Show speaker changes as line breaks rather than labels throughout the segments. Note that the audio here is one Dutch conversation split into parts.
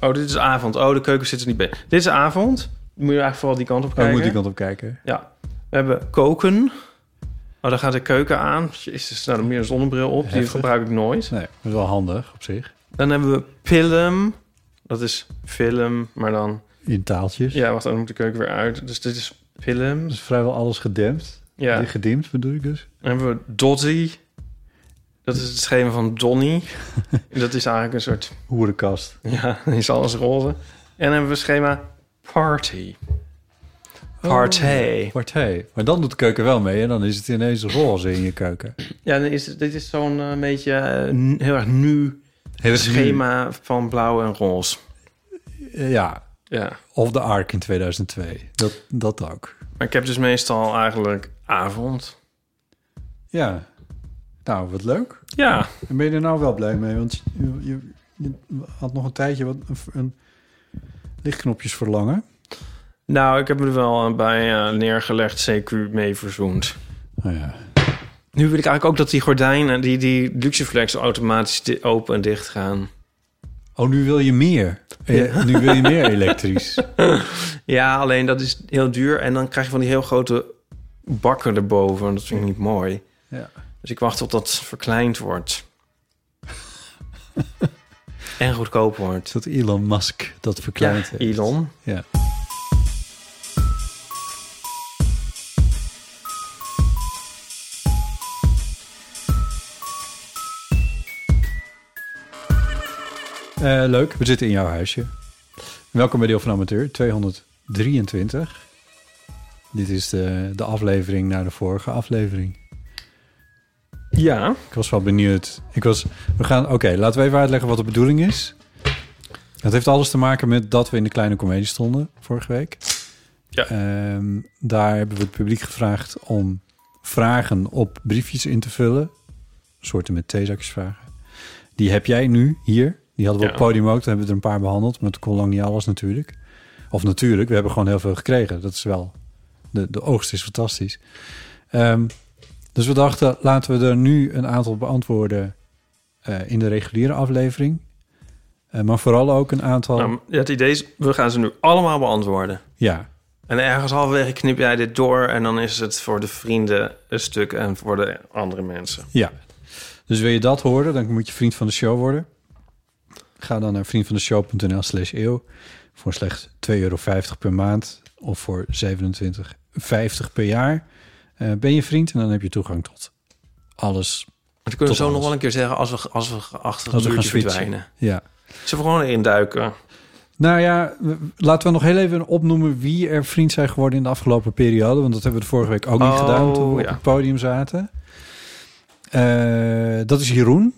Oh, dit is avond. Oh, de keuken zit er niet bij. Dit is avond. Moet je eigenlijk vooral die kant op kijken.
Daar Oh, moet ik kant op kijken.
Ja. We hebben koken. Oh, daar gaat de keuken aan. Jezus, nou, dan meer een zonnebril op. Die
Heftig.
gebruik ik nooit.
Nee, dat is wel handig op zich.
Dan hebben we film. Dat is film, maar dan...
In taaltjes.
Ja, wacht, dan moet de keuken weer uit. Dus dit is film.
Dus vrijwel alles gedempt.
Ja.
Eh, Gedimd bedoel ik dus.
Dan hebben we Dottie. Dat is het schema van Donnie. dat is eigenlijk een soort...
Hoerenkast.
Ja, dan is alles roze. En dan hebben we schema party.
Oh.
Party.
Partij. Maar dan doet de keuken wel mee en dan is het ineens roze in je keuken.
Ja, dan is, het- dit is zo'n eh, beetje eh, n- heel erg nu
Hele
schema van blauw en roze.
Eh, Ja.
Ja.
Of de Ark in 2002. Dat, dat ook.
Maar ik heb dus meestal eigenlijk avond.
Ja. Nou, wat leuk.
Ja.
En ben je er nou wel blij mee? Want je, je, je had nog een tijdje wat een, een lichtknopjes verlangen.
Nou, ik heb er wel eh, bij eh, neergelegd CQ mee verzoend.
Oh ja.
Nu wil ik eigenlijk ook dat die gordijnen, die, die Luxeflex automatisch di- open en dicht gaan.
Oh, nu wil je meer. Eh, Nu wil je meer elektrisch.
Ja, alleen dat is heel duur. En dan krijg je van die heel grote bakken erboven. En dat vind ik niet mooi.
Ja.
Dus ik wacht tot dat verkleind wordt. en goedkoop wordt.
Is dat Elon Musk dat
Ja,
verkleint heeft?
Elon.
Ja. Eh, leuk, we zitten in jouw huisje. Welkom bij Deel van Amateur 223. Dit is de, de aflevering naar de vorige aflevering.
Ja.
Ik was wel benieuwd. Ik was, we gaan, oké, laten we even uitleggen wat de bedoeling is. Dat heeft alles te maken met dat we in de kleine comedie stonden vorige week.
Ja.
Ehm, daar hebben we het publiek gevraagd om vragen op briefjes in te vullen. Soorten met theezakjesvragen. Die heb jij nu hier. Die hadden we op
Ja.
het podium ook. Daar hebben we er een paar behandeld. Maar het kon lang niet alles natuurlijk. Of natuurlijk, we hebben gewoon heel veel gekregen. Dat is wel... De, de oogst is fantastisch. Ehm, dus we dachten, laten we er nu een aantal beantwoorden eh, in de reguliere aflevering. Eh, maar vooral ook een aantal...
Nou, het idee is, we gaan ze nu allemaal beantwoorden.
ja,
En ergens halverwege knip jij dit door... en dan is het voor de vrienden een stuk en voor de andere mensen.
Ja. Dus wil je dat horen, dan moet je vriend van de show worden. Ga dan naar vriendvandeshow.nl slash eeuw. Voor slechts 2,50 euro per maand of voor 27,50 per jaar. Eh, ben je vriend en dan heb je toegang tot alles.
Want kunnen we
Tot
zo nog
alles.
wel een keer zeggen... als we, als we achter
Als
het
we gaan
muurtje
switchen.
verdwijnen.
Ja.
Zullen we gewoon erin duiken?
Nou ja, we- laten we nog heel even opnoemen wie er vriend zijn geworden in de afgelopen periode. Want dat hebben we de vorige week ook niet
Oh,
gedaan toen we
ja.
op het podium zaten. Eh, dat is Jeroen,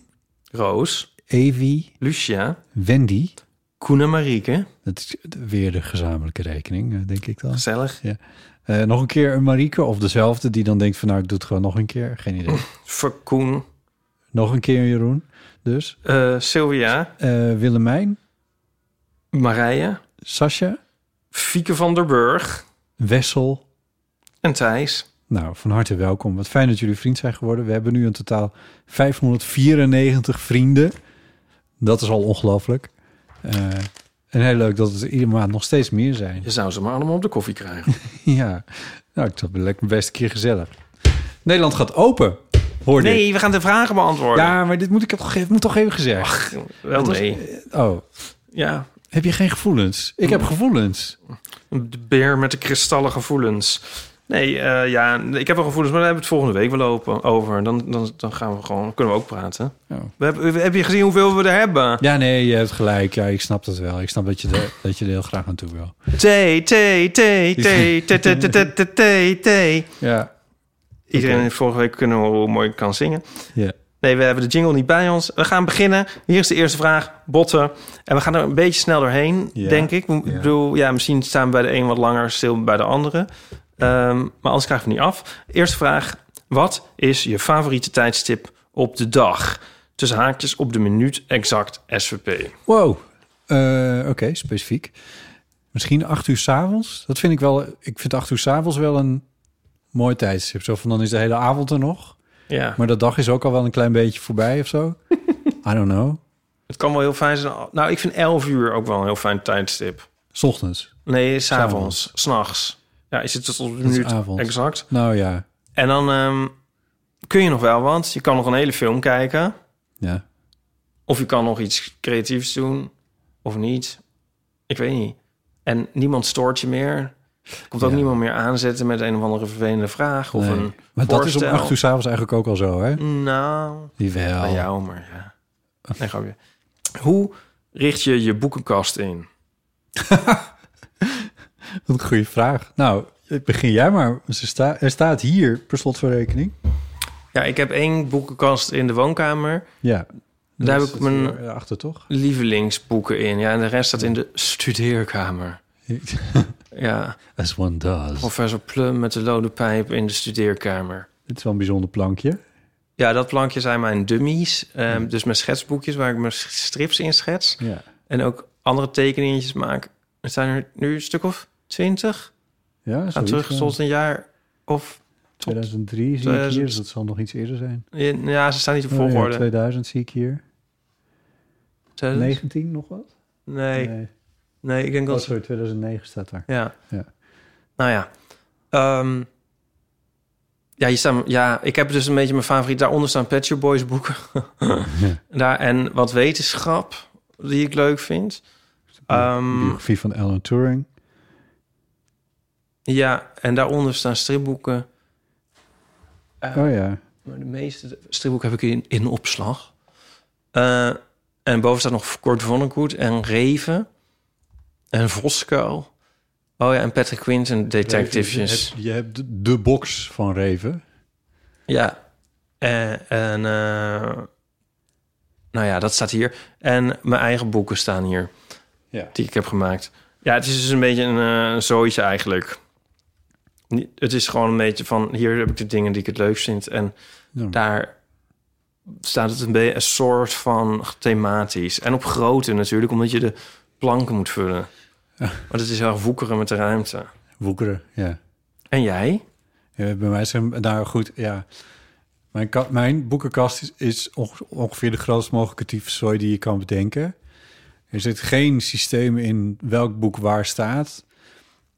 E
Roos,
Evi,
Lucia,
Wendy.
Koen en Marieke.
Dat is weer de gezamenlijke rekening, eh, denk ik dan.
Gezellig.
Eh, nog een keer een Marieke of dezelfde die dan denkt van nou, ik doe het gewoon nog een keer. Geen idee.
Voor Koen,
nog een keer een Jeroen. Dus
eh, Sylvia,
Eh, Willemijn,
Marije,
Sascha,
Fieke van der Burg
Wessel.
en Thijs.
Nou, van harte welkom. Wat fijn dat jullie vriend zijn geworden. We hebben nu in totaal 594 vrienden. Dat is al ongelooflijk. Eh, en heel leuk dat het er iedere maand nog steeds meer zijn.
Je zou ze maar allemaal op de koffie krijgen.
Ja, nou, ik dacht, lekker best een keer gezellig. Nederland gaat open, hoorde ik.
Nee, we gaan de vragen beantwoorden.
Ja, maar dit moet ik heb, moet toch even gezegd.
Wel
Het was-
nee.
eh, Oh,
Ja,
Heb je geen gevoelens? Ik heb gevoelens.
De beer met de kristallen gevoelens. Nee, eh, ja, ik heb wel gevoelens, maar daar hebben we het volgende week wel open, over. Dan, dan, dan gaan we gewoon, kunnen we ook praten.
Ja.
We hebben, heb je gezien hoeveel we er hebben?
Ja, nee, je hebt gelijk. Ja, ik snap dat wel. Ik snap dat je, er- dat je er heel graag naartoe wil.
T, T, T, T, T, T, T, T, T, T, T.
Ja.
Iedereen heeft vorige week kunnen horen hoe mooi ik kan zingen.
Ja.
Nee, we hebben de jingle niet bij ons. We gaan beginnen. Hier is de eerste vraag, botten. En we gaan er een beetje snel doorheen,
Ja.
denk ik. Ik bedoel, ja, misschien staan we bij de een wat langer stil dan bij de andere. Ehm, maar anders krijgen we het niet af. Eerste vraag. Wat is je favoriete tijdstip op de dag? Tussen haakjes op de minuut exact SVP.
Wow. Eh, Oké, specifiek. Misschien acht uur s'avonds. Dat vind ik wel. Ik vind acht uur s'avonds wel een mooi tijdstip. Zo van dan is de hele avond er nog.
Ja,
Maar de dag is ook al wel een klein beetje voorbij of zo. I don't know.
het kan wel heel fijn zijn. Nou, ik vind 11 uur ook wel een heel fijn tijdstip.
S ochtends.
Nee, s'avonds,
S'avonds.
s'nachts. Ja, is het tot op de
is
minuut
avond.
exact?
Nou ja.
En dan ehm, kun je nog wel want Je kan nog een hele film kijken.
Ja.
Of je kan nog iets creatiefs doen. Of niet. Ik weet niet. En niemand stoort je meer. Komt ook
Ja.
niemand meer aanzetten met een of andere vervelende vraag. Of
nee.
een
Maar dat is om
voorstel.
acht uur Oh. s'avonds eigenlijk ook al zo, hè?
Nou,
Die wel.
bij jou maar ja. Nee, grapje. Hoe richt je je boekenkast in?
Wat een goede vraag. Nou, begin jij maar. Ze sta- er staat hier, per slot van rekening.
Ja, ik heb één boekenkast in de woonkamer.
Ja. Dat
heb ik
zit
mijn-
hier eh, Achter, toch?
Lievelingsboeken in. Ja, en de rest staat in de studeerkamer. Ja.
As one does.
Professor Plum met de lode pijp in de studeerkamer.
Dit is wel een bijzonder plankje.
Ja, dat plankje zijn mijn dummies. ehm, Dus mijn schetsboekjes waar ik mijn strips in schets.
Ja.
En ook andere tekeningetjes maak. Er zijn er nu een stuk of twintig.
Ja,
Gaan
zoiets,
terug
ja.
tot een jaar of... tot-
2003 zie ik
2000.
hier, dus dat zal nog iets eerder zijn.
Ja, ze staan niet op
Oh ja,
volgorde.
2000 zie ik hier.
2000?
19 nog wat?
Nee, nee, ik denk
Oh,
dat...
sorry, 2009 staat daar.
Ja.
Ja.
Nou ja. Ehm, ja, je staan, ja, ik heb dus een beetje mijn favoriet. Daaronder staan Pet Shop Boys boeken. Daar, en wat wetenschap, die ik leuk vind. Ehm,
Biografie van Alan Turing.
ja, en daaronder staan stripboeken.
Oh ja.
Maar de meeste stripboeken heb ik in, in opslag. Eh, en boven staat nog Kort Vonnegut en Reven. En Voskuil. Oh ja, en Patrick Quinton, detectives.
Je hebt, je hebt de- de box van Reven.
Ja. En, en eh, nou ja, dat staat hier. En mijn eigen boeken staan hier.
Ja.
Die ik heb gemaakt. Ja, het is dus een beetje een eh zooitje eigenlijk. Niet- Het is gewoon een beetje van... hier heb ik de dingen die ik het leuk vind. En
Ja.
daar staat het een beetje een soort van thematisch. En op grootte natuurlijk, omdat je de planken moet vullen. Want het is heel erg woekeren met de ruimte.
Woekeren, ja.
En jij?
Ja, bij mij zijn, nou goed, ja. Mijn, ka- mijn boekenkast is, is onge- ongeveer de grootst mogelijke tyfuszooi die je kan bedenken. Er zit geen systeem in welk boek waar staat.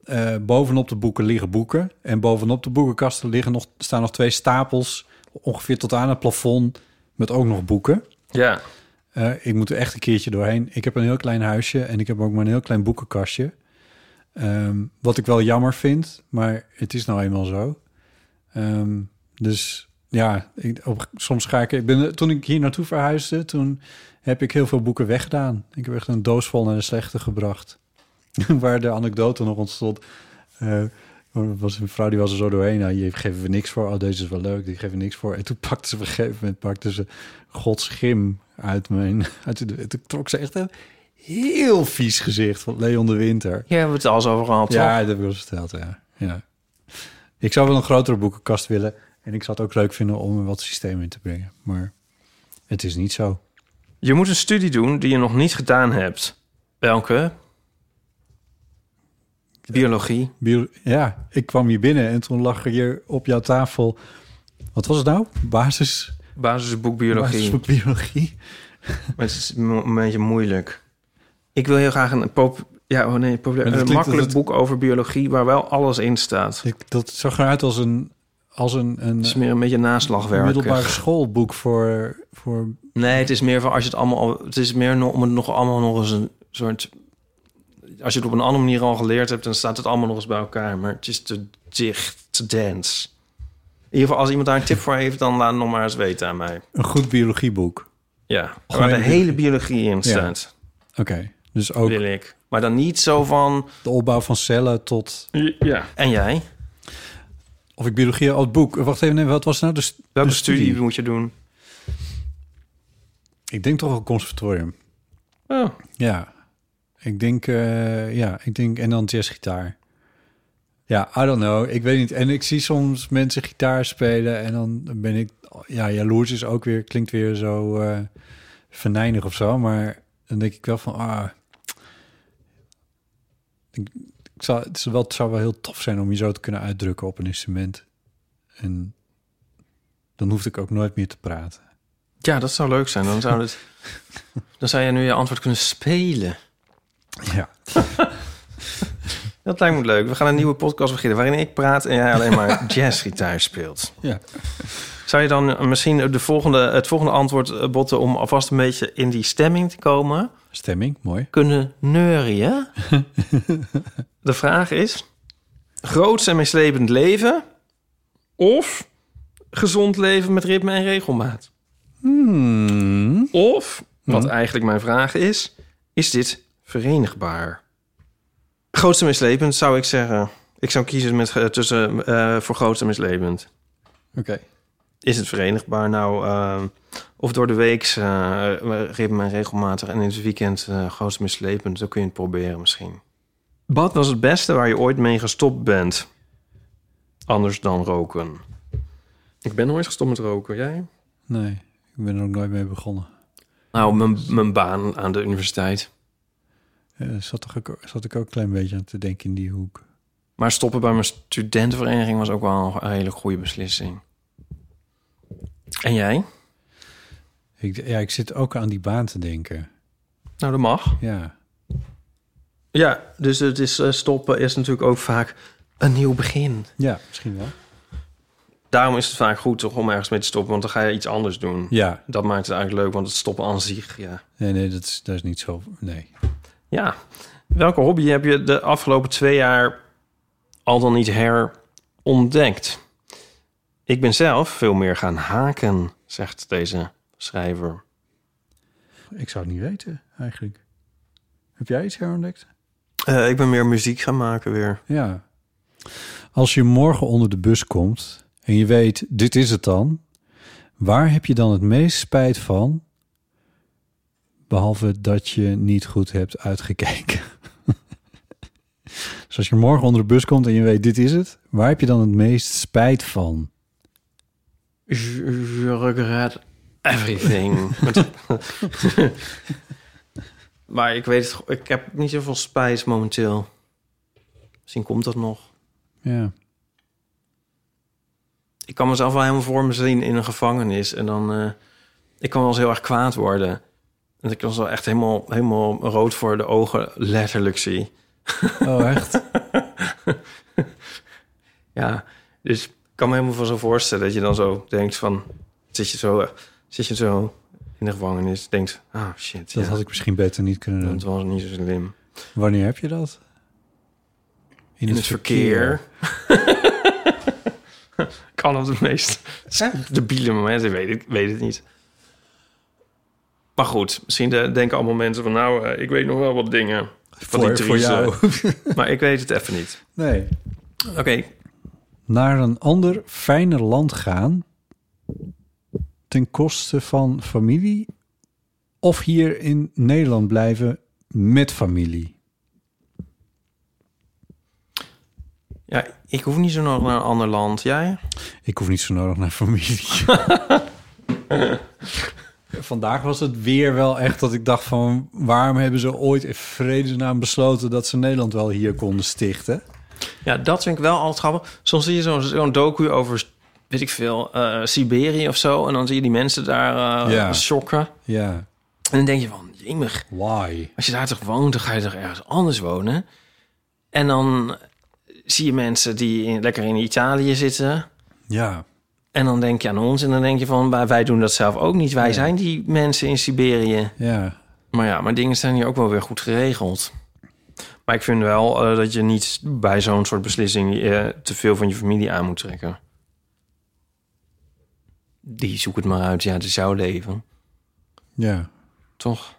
Eh, bovenop de boeken liggen boeken. En bovenop de boekenkasten liggen nog, staan nog twee stapels, ongeveer tot aan het plafond, met ook nog boeken.
Ja.
Eh, ik moet er echt een keertje doorheen. Ik heb een heel klein huisje en ik heb ook maar een heel klein boekenkastje. Ehm, wat ik wel jammer vind, maar het is nou eenmaal zo. Ehm, dus ja, ik, op, soms ga ik... ik ben, toen ik hier naartoe verhuisde, toen heb ik heel veel boeken weggedaan. Ik heb echt een doos vol naar de slechte gebracht. Waar de anekdote nog ontstond. Eh, er was een vrouw die was er zo doorheen. Nou, hier geven we niks voor. Oh, deze is wel leuk. Die geven we niks voor. En toen pakte ze op een gegeven moment pakte ze Gods gym uit mijn. Uit de, toen trok ze echt een heel vies gezicht van Leon de Winter.
Jij hebt het al eens over gehad,
Ja,
toch?
dat heb ik wel eens verteld. Ja. ja. Ik zou wel een grotere boekenkast willen. En ik zou het ook leuk vinden om er wat systeem in te brengen. Maar het is niet zo.
Je moet een studie doen die je nog niet gedaan hebt. Welke? Biologie.
Bio- Ja, ik kwam hier binnen en toen lag er hier op jouw tafel. Wat was het nou? Basis.
Basisboek biologie.
basisboek biologie.
Maar het is mo- een beetje moeilijk. Ik wil heel graag een, pop ja, oh nee, populair-
Maar dat
een
klinkt
makkelijk
dat
boek over biologie... waar wel alles in staat.
Ik, dat zag eruit als een, als een, een
Het is meer een beetje naslagwerk. eh,
middelbare schoolboek voor, voor...
Nee, het is meer van als je het allemaal al, het is meer no- om het nog allemaal nog eens een soort als je het op een andere manier al geleerd hebt, dan staat het allemaal nog eens bij elkaar. Maar het is te dicht, te dens. In ieder geval, als iemand daar een tip voor heeft, dan laat het nog maar eens weten aan mij.
Een goed biologieboek.
Ja, waar
Gewoon
de
een-
hele biologie in staat,
Oké, dus ook
wil ik. Maar dan niet zo van...
de opbouw van cellen tot...
Ja. En jij?
Of ik biologie... Oh, het boek. Wacht even, nee, wat was nou de, st-
Welke
de
studie, moet je doen?
Ik denk toch een conservatorium.
Oh,
Ja. Ik denk, eh, ja, ik denk, en dan jazzgitaar. Ja, I don't know. Ik weet niet. En ik zie soms mensen gitaar spelen en dan ben ik, ja, jaloers is ook weer, klinkt weer zo eh venijnig of zo. Maar dan denk ik wel van, ah, ik, ik zou, het, is wel, het zou wel heel tof zijn om je zo te kunnen uitdrukken op een instrument. En dan hoefde ik ook nooit meer te praten.
ja, dat zou leuk zijn. Dan zou, het, dan zou je nu je antwoord kunnen spelen.
Ja.
Dat lijkt me leuk. We gaan een nieuwe podcast beginnen waarin ik praat en jij alleen maar jazzgitaar speelt.
Ja.
Zou je dan misschien de volgende, het volgende antwoord eh, botten om alvast een beetje in die stemming te komen?
Stemming, mooi.
Kunnen neurien? de vraag is: groots en meeslepend leven of gezond leven met ritme en regelmaat?
Hmm.
Of, wat
Mhm.
eigenlijk mijn vraag is, is dit verenigbaar? Grootste mislepend zou ik zeggen. Ik zou kiezen met, eh, tussen, eh, voor grootste mislepend.
Oké.
Is het verenigbaar? Nou, ehm, of door de week eh ritme en regelmatig en in het weekend eh grootste mislepend. Dan kun je het proberen misschien. Wat was het beste waar je ooit mee gestopt bent? Anders dan roken. Ik ben nooit gestopt met roken. Jij?
Nee, ik ben er ook nooit mee begonnen.
Nou, mijn, mijn baan aan de universiteit.
Eh, zat, toch ook, zat ik ook een klein beetje aan te denken in die hoek.
Maar stoppen bij mijn studentenvereniging was ook wel een hele goede beslissing. En jij?
Ik, ja, ik zit ook aan die baan te denken.
Nou, dat mag.
Ja,
Ja, dus het is, eh, stoppen is natuurlijk ook vaak een nieuw begin.
ja misschien wel.
Daarom is het vaak goed toch om ergens mee te stoppen, want dan ga je iets anders doen.
Ja,
Dat maakt het eigenlijk leuk, want het stoppen aan zich, ja.
nee, nee dat, is, dat is niet zo... Nee.
Ja. Welke hobby heb je de afgelopen twee jaar al dan niet herontdekt? Ik ben zelf veel meer gaan haken, zegt deze schrijver.
Ik zou het niet weten, eigenlijk. Heb jij iets herontdekt?
Eh, ik ben meer muziek gaan maken weer.
Ja. Als je morgen onder de bus komt en je weet, dit is het dan. Waar heb je dan het meest spijt van? Behalve dat je niet goed hebt uitgekeken. dus als je morgen onder de bus komt en je weet, dit is het. Waar heb je dan het meest spijt van?
Je, je regret everything. maar ik weet het, ik heb niet zoveel spijt momenteel. Misschien komt dat nog.
Ja.
Ik kan mezelf wel helemaal voor me zien in een gevangenis. En dan, eh, ik kan wel eens heel erg kwaad worden. En ik was wel echt helemaal, helemaal rood voor de ogen, letterlijk zie.
Oh, echt?
Ja, dus ik kan me helemaal van zo voorstellen dat je dan zo denkt van... Zit je zo, eh, zit je zo in de gevangenis, denkt... Ah, shit,
Dat
ja,
had ik misschien beter niet kunnen
dat
doen.
was niet zo slim.
Wanneer heb je dat?
In het, verkeer. kan op de meest debiele momenten, ik weet, ik weet het niet. Maar goed, misschien eh, denken allemaal mensen van... Nou, eh, ik weet nog wel wat dingen van die
Voor, voor
Therese.
jou.
Maar ik weet het even niet.
Nee.
Oké,
naar een ander fijner land gaan ten koste van familie of hier in Nederland blijven met familie?
ja, ik hoef niet zo nog naar een ander land. Jij?
Ik hoef niet zo nodig naar familie. Vandaag was het weer wel echt dat ik dacht van... waarom hebben ze ooit in vredesnaam besloten... dat ze Nederland wel hier konden stichten?
Ja, dat vind ik wel altijd grappig. Soms zie je zo'n zo'n docu over, weet ik veel, eh, Siberië of zo. En dan zie je die mensen daar eh
Ja.
shocken.
Ja,
En dan denk je van, jemig,
why?
als je daar toch woont, dan ga je toch ergens anders wonen. En dan zie je mensen die in- lekker in Italië zitten.
Ja,
En dan denk je aan ons. En dan denk je van, wij- wij doen dat zelf ook niet. Wij
Ja.
zijn die mensen in Siberië.
ja.
Maar ja, maar dingen zijn hier ook wel weer goed geregeld. Maar ik vind wel eh, dat je niet bij zo'n soort beslissing eh, te veel van je familie aan moet trekken. Die zoek het maar uit. Ja, het is jouw leven.
Ja.
Toch?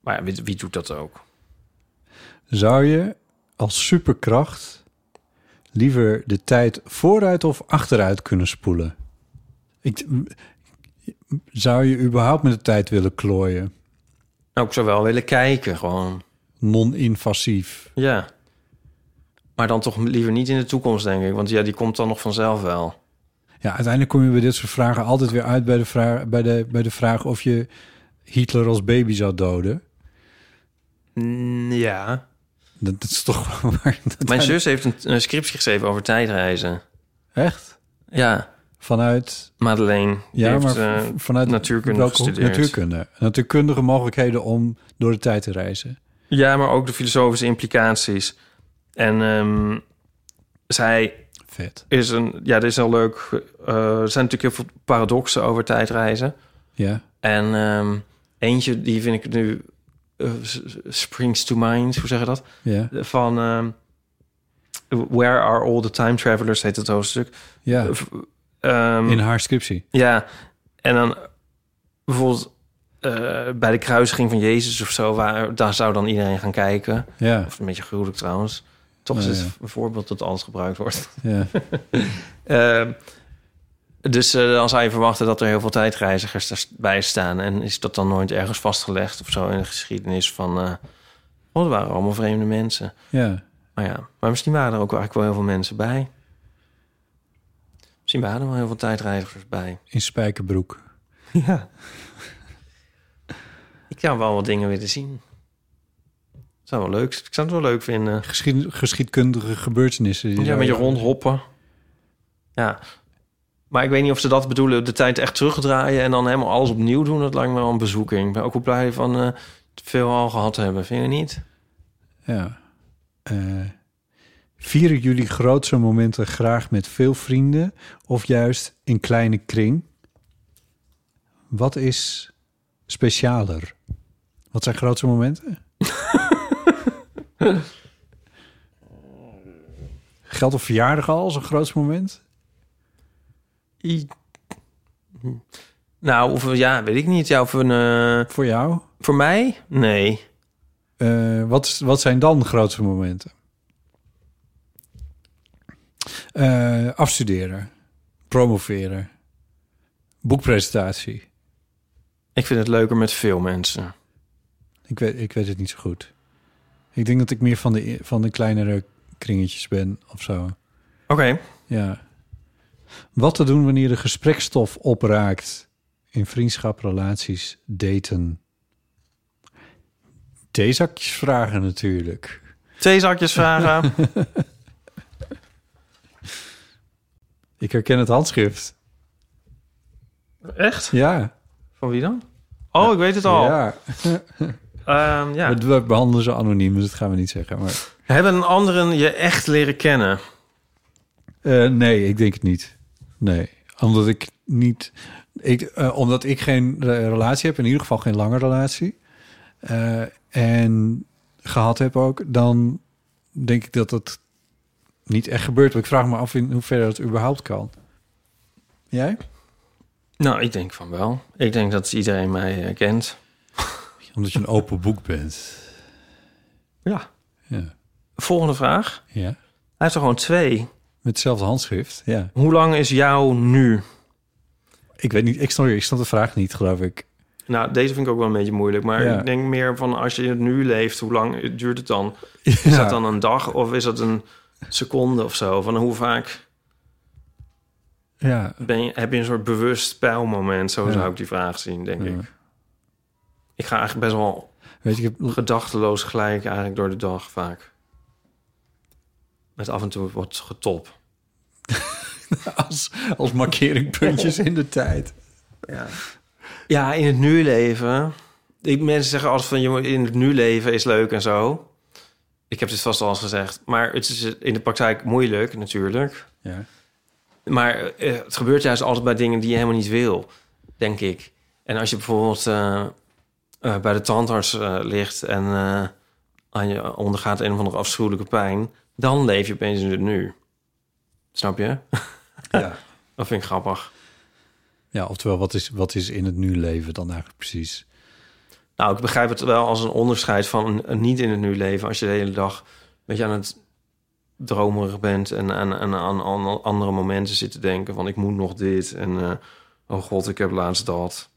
Maar ja, wie, wie doet dat ook?
Zou je als superkracht liever de tijd vooruit of achteruit kunnen spoelen? Ik, zou je überhaupt met de tijd willen klooien?
Nou, ik zou wel willen kijken, gewoon.
Non-invasief.
Ja. Maar dan toch liever niet in de toekomst, denk ik. Want ja, die komt dan nog vanzelf wel.
Ja, uiteindelijk kom je bij dit soort vragen altijd weer uit bij de vraag, bij de, bij de vraag of je Hitler als baby zou doden.
Mm, Ja.
Dat, dat is toch wel waar. dat
Mijn
hij-
zus heeft een, een scriptje geschreven over tijdreizen.
Echt?
Ja,
Vanuit.
Madeleine. Die
Ja,
heeft,
maar
eh,
v- vanuit
natuurkunde
welke hoek?
gestudeerd.
natuurkunde. Natuurkundige mogelijkheden om door de tijd te reizen.
Ja, maar ook de filosofische implicaties. En ehm, zij
Vet.
is een... Ja, dit is heel leuk. Eh, er zijn natuurlijk heel veel paradoxen over tijdreizen.
Ja.
En ehm, eentje, die vind ik nu... eh, s- s- springs to mind, hoe zeg je dat?
Ja.
Van... ehm, Where are all the time travelers, heet het hoofdstuk.
Ja.
V- ehm,
In haar scriptie.
Ja, en dan bijvoorbeeld eh, bij de kruisiging van Jezus of zo, waar, daar zou dan iedereen gaan kijken.
Ja.
Of een beetje gruwelijk trouwens. Toch
Nou
is
ja.
het een voorbeeld dat anders gebruikt wordt.
ja.
Ehm, dus eh, dan zou je verwachten dat er heel veel tijdreizigers daarbij staan. En is dat dan nooit ergens vastgelegd of zo in de geschiedenis van... eh oh, er waren allemaal vreemde mensen.
Ja.
Maar ja, maar misschien waren er ook eigenlijk wel heel veel mensen bij. Misschien waren er wel heel veel tijdreizigers bij.
In spijkerbroek.
Ja. Ik zou wel wat dingen willen zien. Zou wel leuk. Ik zou het wel leuk vinden.
Geschied, geschiedkundige gebeurtenissen. die
Ja,
daar-
met je rondhoppen. Ja. Maar ik weet niet of ze dat bedoelen. De tijd echt terugdraaien en dan helemaal alles opnieuw doen. Dat lijkt me wel een bezoeking. Ik ben ook wel blij van eh, veel al gehad hebben. Vind je niet?
Ja. Eh, vieren jullie grootste momenten graag met veel vrienden of juist in kleine kring? Wat is specialer? Wat zijn grootste momenten? Geldt een verjaardag al als een groot moment?
I- Nou, of, ja, weet ik niet. Ja, of een, eh,
Voor jou?
voor mij? Nee.
Eh, wat, is- wat zijn dan grootste momenten? Eh, afstuderen, promoveren, boekpresentatie.
Ik vind het leuker met veel mensen.
Ik weet, ik weet het niet zo goed. Ik denk dat ik meer van de, van de kleinere kringetjes ben of zo.
Oké.
Ja. Wat te doen wanneer de gesprekstof opraakt in vriendschap, relaties, daten? Theezakjes vragen natuurlijk.
Theezakjes vragen.
Ik herken het handschrift.
Echt?
Ja.
Van wie dan? Oh, ik weet het al. Ja.
Ja.
ja.
We, we behandelen ze anoniem, dus dat gaan we niet zeggen. Maar,
Hebben een anderen je echt leren kennen?
Eh, nee, ik denk het niet. Nee, omdat ik niet... Ik, eh, omdat ik geen eh, relatie heb, in ieder geval geen lange relatie... eh, en gehad heb ook, dan denk ik dat dat niet echt gebeurt. Want ik vraag me af in hoeverre dat überhaupt kan. Jij?
Nou, ik denk van wel. Ik denk dat iedereen mij eh, kent.
Omdat je een open boek bent.
Ja.
Ja.
Volgende vraag.
ja.
Hij heeft er gewoon twee.
Met hetzelfde handschrift, ja.
Hoe lang is jou nu?
Ik weet niet, ik snap, ik snap de vraag niet, geloof ik.
Nou, deze vind ik ook wel een beetje moeilijk. Maar
Ja.
ik denk meer van als je het nu leeft, hoe lang duurt het dan?
Is
Is dat dan een dag of is dat een seconde of zo? Van hoe vaak
Ja,
ben je, heb je een soort bewust pijlmoment? Zo
Ja.
zou ik die vraag zien, denk
Ja.
ik. Ik ga eigenlijk best wel
weet je, ik heb
gedachteloos gelijk eigenlijk door de dag vaak. Met af en toe wat getop.
als, als markeringpuntjes in de tijd.
Ja. ja, in het nu leven. Ik, mensen zeggen altijd van, jongen, in het nu leven is leuk en zo. Ik heb dit vast al eens gezegd. Maar het is in de praktijk moeilijk, natuurlijk.
Ja.
Maar eh, het gebeurt juist altijd bij dingen die je helemaal niet wil, denk ik. En als je bijvoorbeeld eh, eh, bij de tandarts eh, ligt en eh, en je ondergaat een of andere afschuwelijke pijn, dan leef je opeens in het nu. Snap je?
Ja.
Dat vind ik grappig.
Ja, oftewel, wat is, wat is in het nu leven dan eigenlijk precies?
Nou, ik begrijp het wel als een onderscheid van een, een niet in het nu leven. Als je de hele dag weet je, aan het dromerig bent en, en, en aan, aan andere momenten zit te denken van ik moet nog dit en eh, oh god, ik heb laatst dat.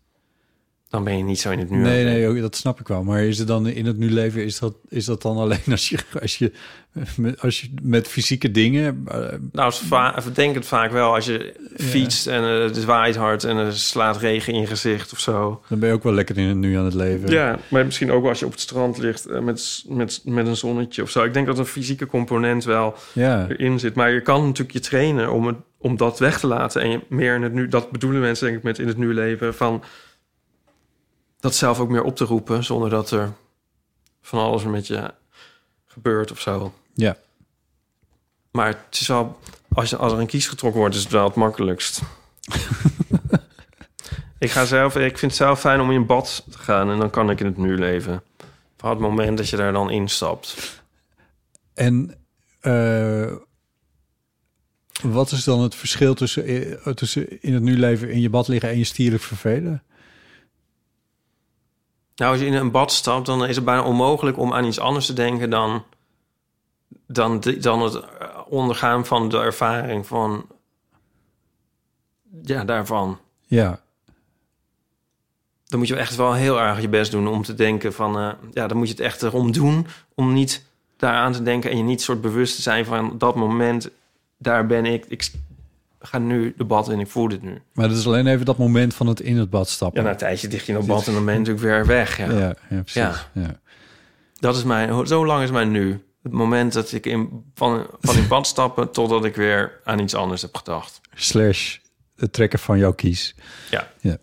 Dan ben je niet zo in het nu.
nee, nee, ook- dat snap ik wel. Maar is het dan in het nu leven, is dat, is dat dan alleen als je, als, je, als je met fysieke dingen... eh,
Nou, het is va- ik denk het vaak wel als je fietst en eh, het waait hard en er slaat regen in je gezicht of zo.
Dan ben je ook wel lekker in het nu aan het leven.
maar misschien ook als je op het strand ligt eh, met, met, met een zonnetje of zo. Ik denk dat een fysieke component wel
Ja.
erin zit. Maar je kan natuurlijk je trainen om, het, om dat weg te laten. En je meer in het nu, dat bedoelen mensen denk ik met in het nu leven. Van dat zelf ook meer op te roepen zonder dat er van alles met je gebeurt of zo.
Ja.
Maar het is wel, als, je, als er een kies getrokken wordt, is het wel het makkelijkst. ik, ga zelf, ik vind het zelf fijn om in bad te gaan en dan kan ik in het nu leven. Van het moment dat je daar dan instapt.
En eh, wat is dan het verschil tussen, eh, tussen in het nu leven in je bad liggen en je stierlijk vervelen?
Nou, als je in een bad stapt, dan is het bijna onmogelijk om aan iets anders te denken dan, dan, di- dan het eh, ondergaan van de ervaring van. Ja, daarvan.
Ja,
dan moet je echt wel heel erg je best doen om te denken van... eh, ja, dan moet je het echt erom doen om niet daaraan te denken... en je niet soort bewust te zijn van dat moment, daar ben ik. Ik ga nu de bad in, ik voel dit nu.
maar dat is alleen even dat moment van het in het bad
Ja,
stappen.
na een tijdje dicht je in de bad en dan ben je natuurlijk weer weg. Ja.
ja, ja, precies.
Ja.
Ja.
Dat is mijn, zo lang is mijn nu. Het moment dat ik in, van, van in bad stappen totdat ik weer aan iets anders heb gedacht.
Slash het trekken van jouw kies.
Ja.
ja.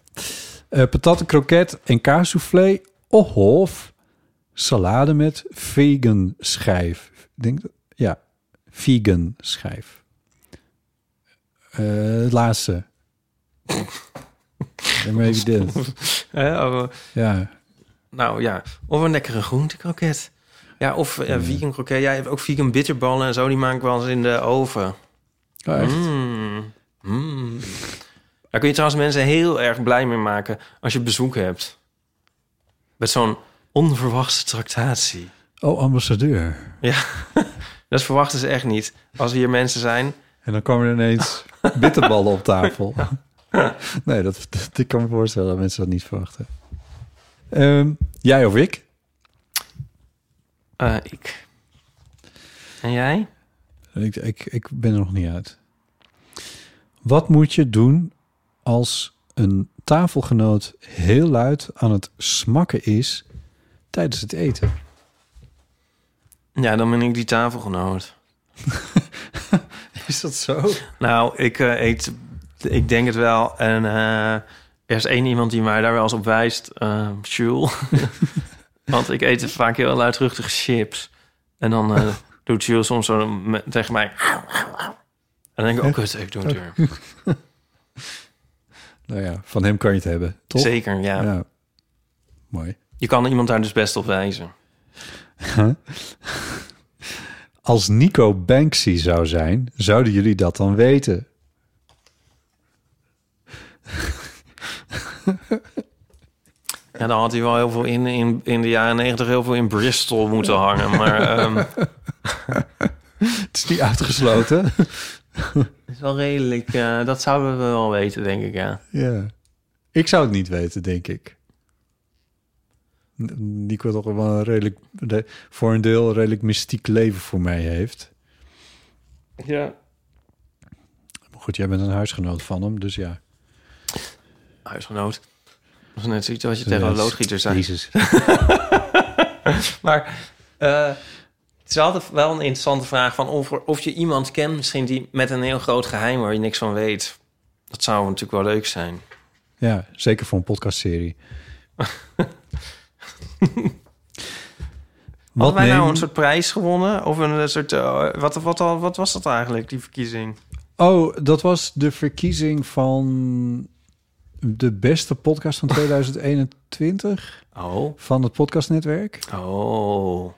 Eh patat, kroket en kaassoufflé. Of salade met vegan schijf. Ik Denk, dat- ja, vegan schijf. Eh, het laatste. En maybe dit.
Eh, oh,
Ja,
Nou ja, of een lekkere groentekroket. Ja, of
Hmm.
eh, vegan kroket. Jij hebt ook vegan bitterballen en zo. Die maak ik wel eens in de oven.
Oh, echt.
Mm. Mm. Daar kun je trouwens mensen heel erg blij mee maken als je bezoek hebt. Met zo'n onverwachte tractatie.
Oh, ambassadeur.
Ja, dat verwachten ze echt niet. Als hier mensen zijn.
En dan kwamen er ineens bitterballen op tafel. nee, dat, dat- ik kan me voorstellen dat mensen dat niet verwachten. Ehm, jij of ik?
eh, ik. En jij?
Ik, ik, ik ben er nog niet uit. Wat moet je doen als een tafelgenoot heel luid aan het smakken is tijdens het eten?
Ja, dan ben ik die tafelgenoot.
Is dat zo?
Nou, ik, eh, eet, ik denk het wel. En eh, er is één iemand die mij daar wel eens op wijst. eh Jules. Want ik eet vaak heel luidruchtige chips. En dan eh, doet Jules soms zo me- tegen mij... En dan denk ik, ook kut, ik doe het weer.
Nou ja, van hem kan je het hebben, toch?
Zeker, ja.
Ja. Mooi.
Je kan iemand daar dus best op wijzen.
Als Nico Banksy zou zijn, zouden jullie dat dan weten?
Ja, dan had hij wel heel veel in, in, in de jaren negentig... heel veel in Bristol moeten hangen. Maar ehm,
Het is niet uitgesloten.
het is wel redelijk... eh, dat zouden we wel weten, denk ik, ja.
ja. Ik zou het niet weten, denk ik. N- Nico toch wel een redelijk, re- voor een deel een redelijk mystiek leven voor mij heeft.
Ja.
Maar goed, jij bent een huisgenoot van hem, dus ja.
Huisgenoot. Dat is net zoiets wat je tegen een
Ja,
loodgieter zei.
Jezus.
Maar eh, het is altijd wel een interessante vraag van of, er- of je iemand kent, misschien die met een heel groot geheim waar je niks van weet. Dat zou natuurlijk wel leuk zijn.
Ja, zeker voor een podcastserie.
Hadden wij nou
neem-
een soort prijs gewonnen? Of een soort. eh, wat, wat, al wat was dat eigenlijk, die verkiezing?
Oh, dat was de verkiezing van de beste podcast van 2021
Oh.
van het podcastnetwerk.
Oh.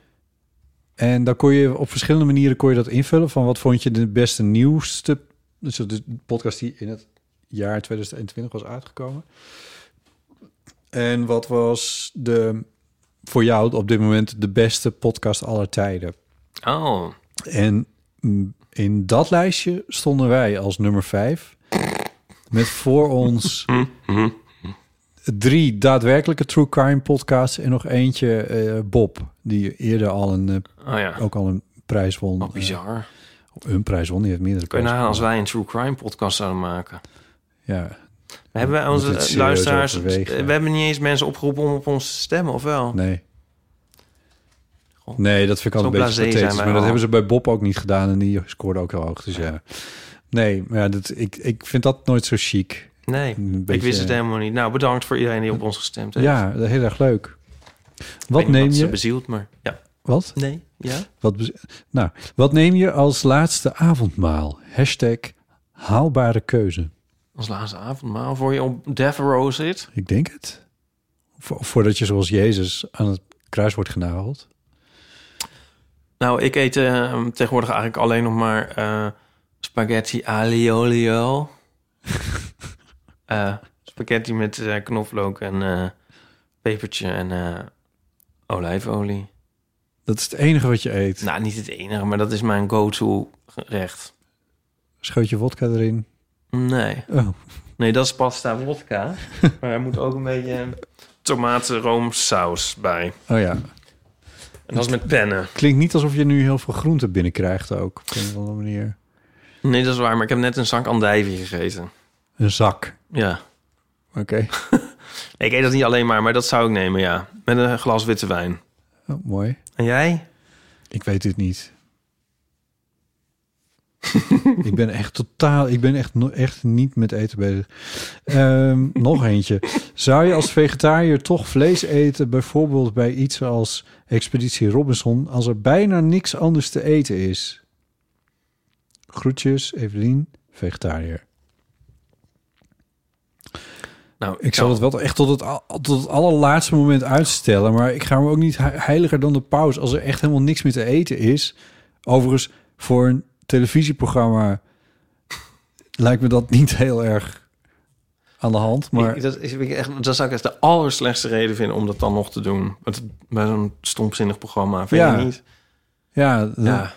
En daar kon je op verschillende manieren kon je dat invullen. Van wat vond je de beste nieuwste... Dus de podcast die in het jaar 2021 was uitgekomen. En wat was de, voor jou op dit moment de beste podcast aller tijden?
Oh.
En mm, in dat lijstje stonden wij als nummer vijf. Met voor ons
Hm.
drie daadwerkelijke true crime podcasts en nog eentje eh, Bob, die eerder al een, eh,
Oh ja.
ook al een prijs won.
Oh, bizar.
Eh, een prijs won, die heeft meerdere
Kun je
prijzen
nagaan als
gewonnen.
wij een true crime podcast zouden maken.
Ja,
Maar hebben wij
Moet je
onze
het
eh,
serieus
luisteraars...
overwegen.
We hebben niet eens mensen opgeroepen om op ons te stemmen, of wel?
nee. Nee, dat vind ik
Zo
altijd een
blasé
beetje
zijn
pathetisch.
wij
Maar dat
al.
hebben ze bij Bob ook niet gedaan. En die scoorde ook heel hoog. Dus ja. Nee, maar ja, dat, ik, ik vind dat nooit zo chic.
Nee,
Een
ik
beetje-
wist het helemaal niet. Nou, bedankt voor iedereen die op ons gestemd heeft.
Ja, dat- heel erg leuk.
Ik
Wat
weet niet
neem
Ze
je?
bezield, maar... Ja.
Wat?
Nee, ja.
Wat, bez- nou, wat neem je als laatste avondmaal? Hashtag haalbare keuze.
Ons laatste avondmaal voor je op Death Row zit.
Ik denk het. Vo- voordat je zoals Jezus aan het kruis wordt genageld.
Nou, ik eet eh, tegenwoordig eigenlijk alleen nog maar eh, spaghetti aliolio. Eh spaghetti met eh, knoflook en eh, pepertje en eh, olijfolie.
Dat is het enige wat je eet.
Nou, niet het enige, maar dat is mijn go-to gerecht.
Scheut je vodka erin.
Nee.
Oh,
nee, dat is pasta wodka. maar er moet ook een beetje tomatenroomsaus bij.
oh ja.
En dat is met pennen.
Klinkt niet alsof je nu heel veel groenten binnenkrijgt ook. Op een of andere manier.
Nee, dat is waar, maar ik heb net een zak andijvie gegeten.
Een zak.
Ja.
Oké.
Ik eet dat niet alleen maar, maar dat zou ik nemen, ja. Met een glas witte wijn.
Oh, mooi.
En jij?
Ik weet dit niet. ik ben echt totaal, ik ben echt, no- echt niet met eten bezig. Ehm, nog eentje. Zou je als vegetariër toch vlees eten, bijvoorbeeld bij iets als Expeditie Robinson, als er bijna niks anders te eten is? Groetjes, Evelien, vegetariër.
Nou,
Ik zal het wel echt tot het, al- tot het allerlaatste moment uitstellen. Maar ik ga me ook niet he- heiliger dan de paus. Als er echt helemaal niks meer te eten is. Overigens, voor een televisieprogramma lijkt me dat niet heel erg aan de hand. Maar
Ik- dat, is, ik echt, dat zou ik echt de allerslechtste reden vinden om dat dan nog te doen. Want bij zo'n stomzinnig programma, vind
Ja.
je niet?
ja, dat-
Ja.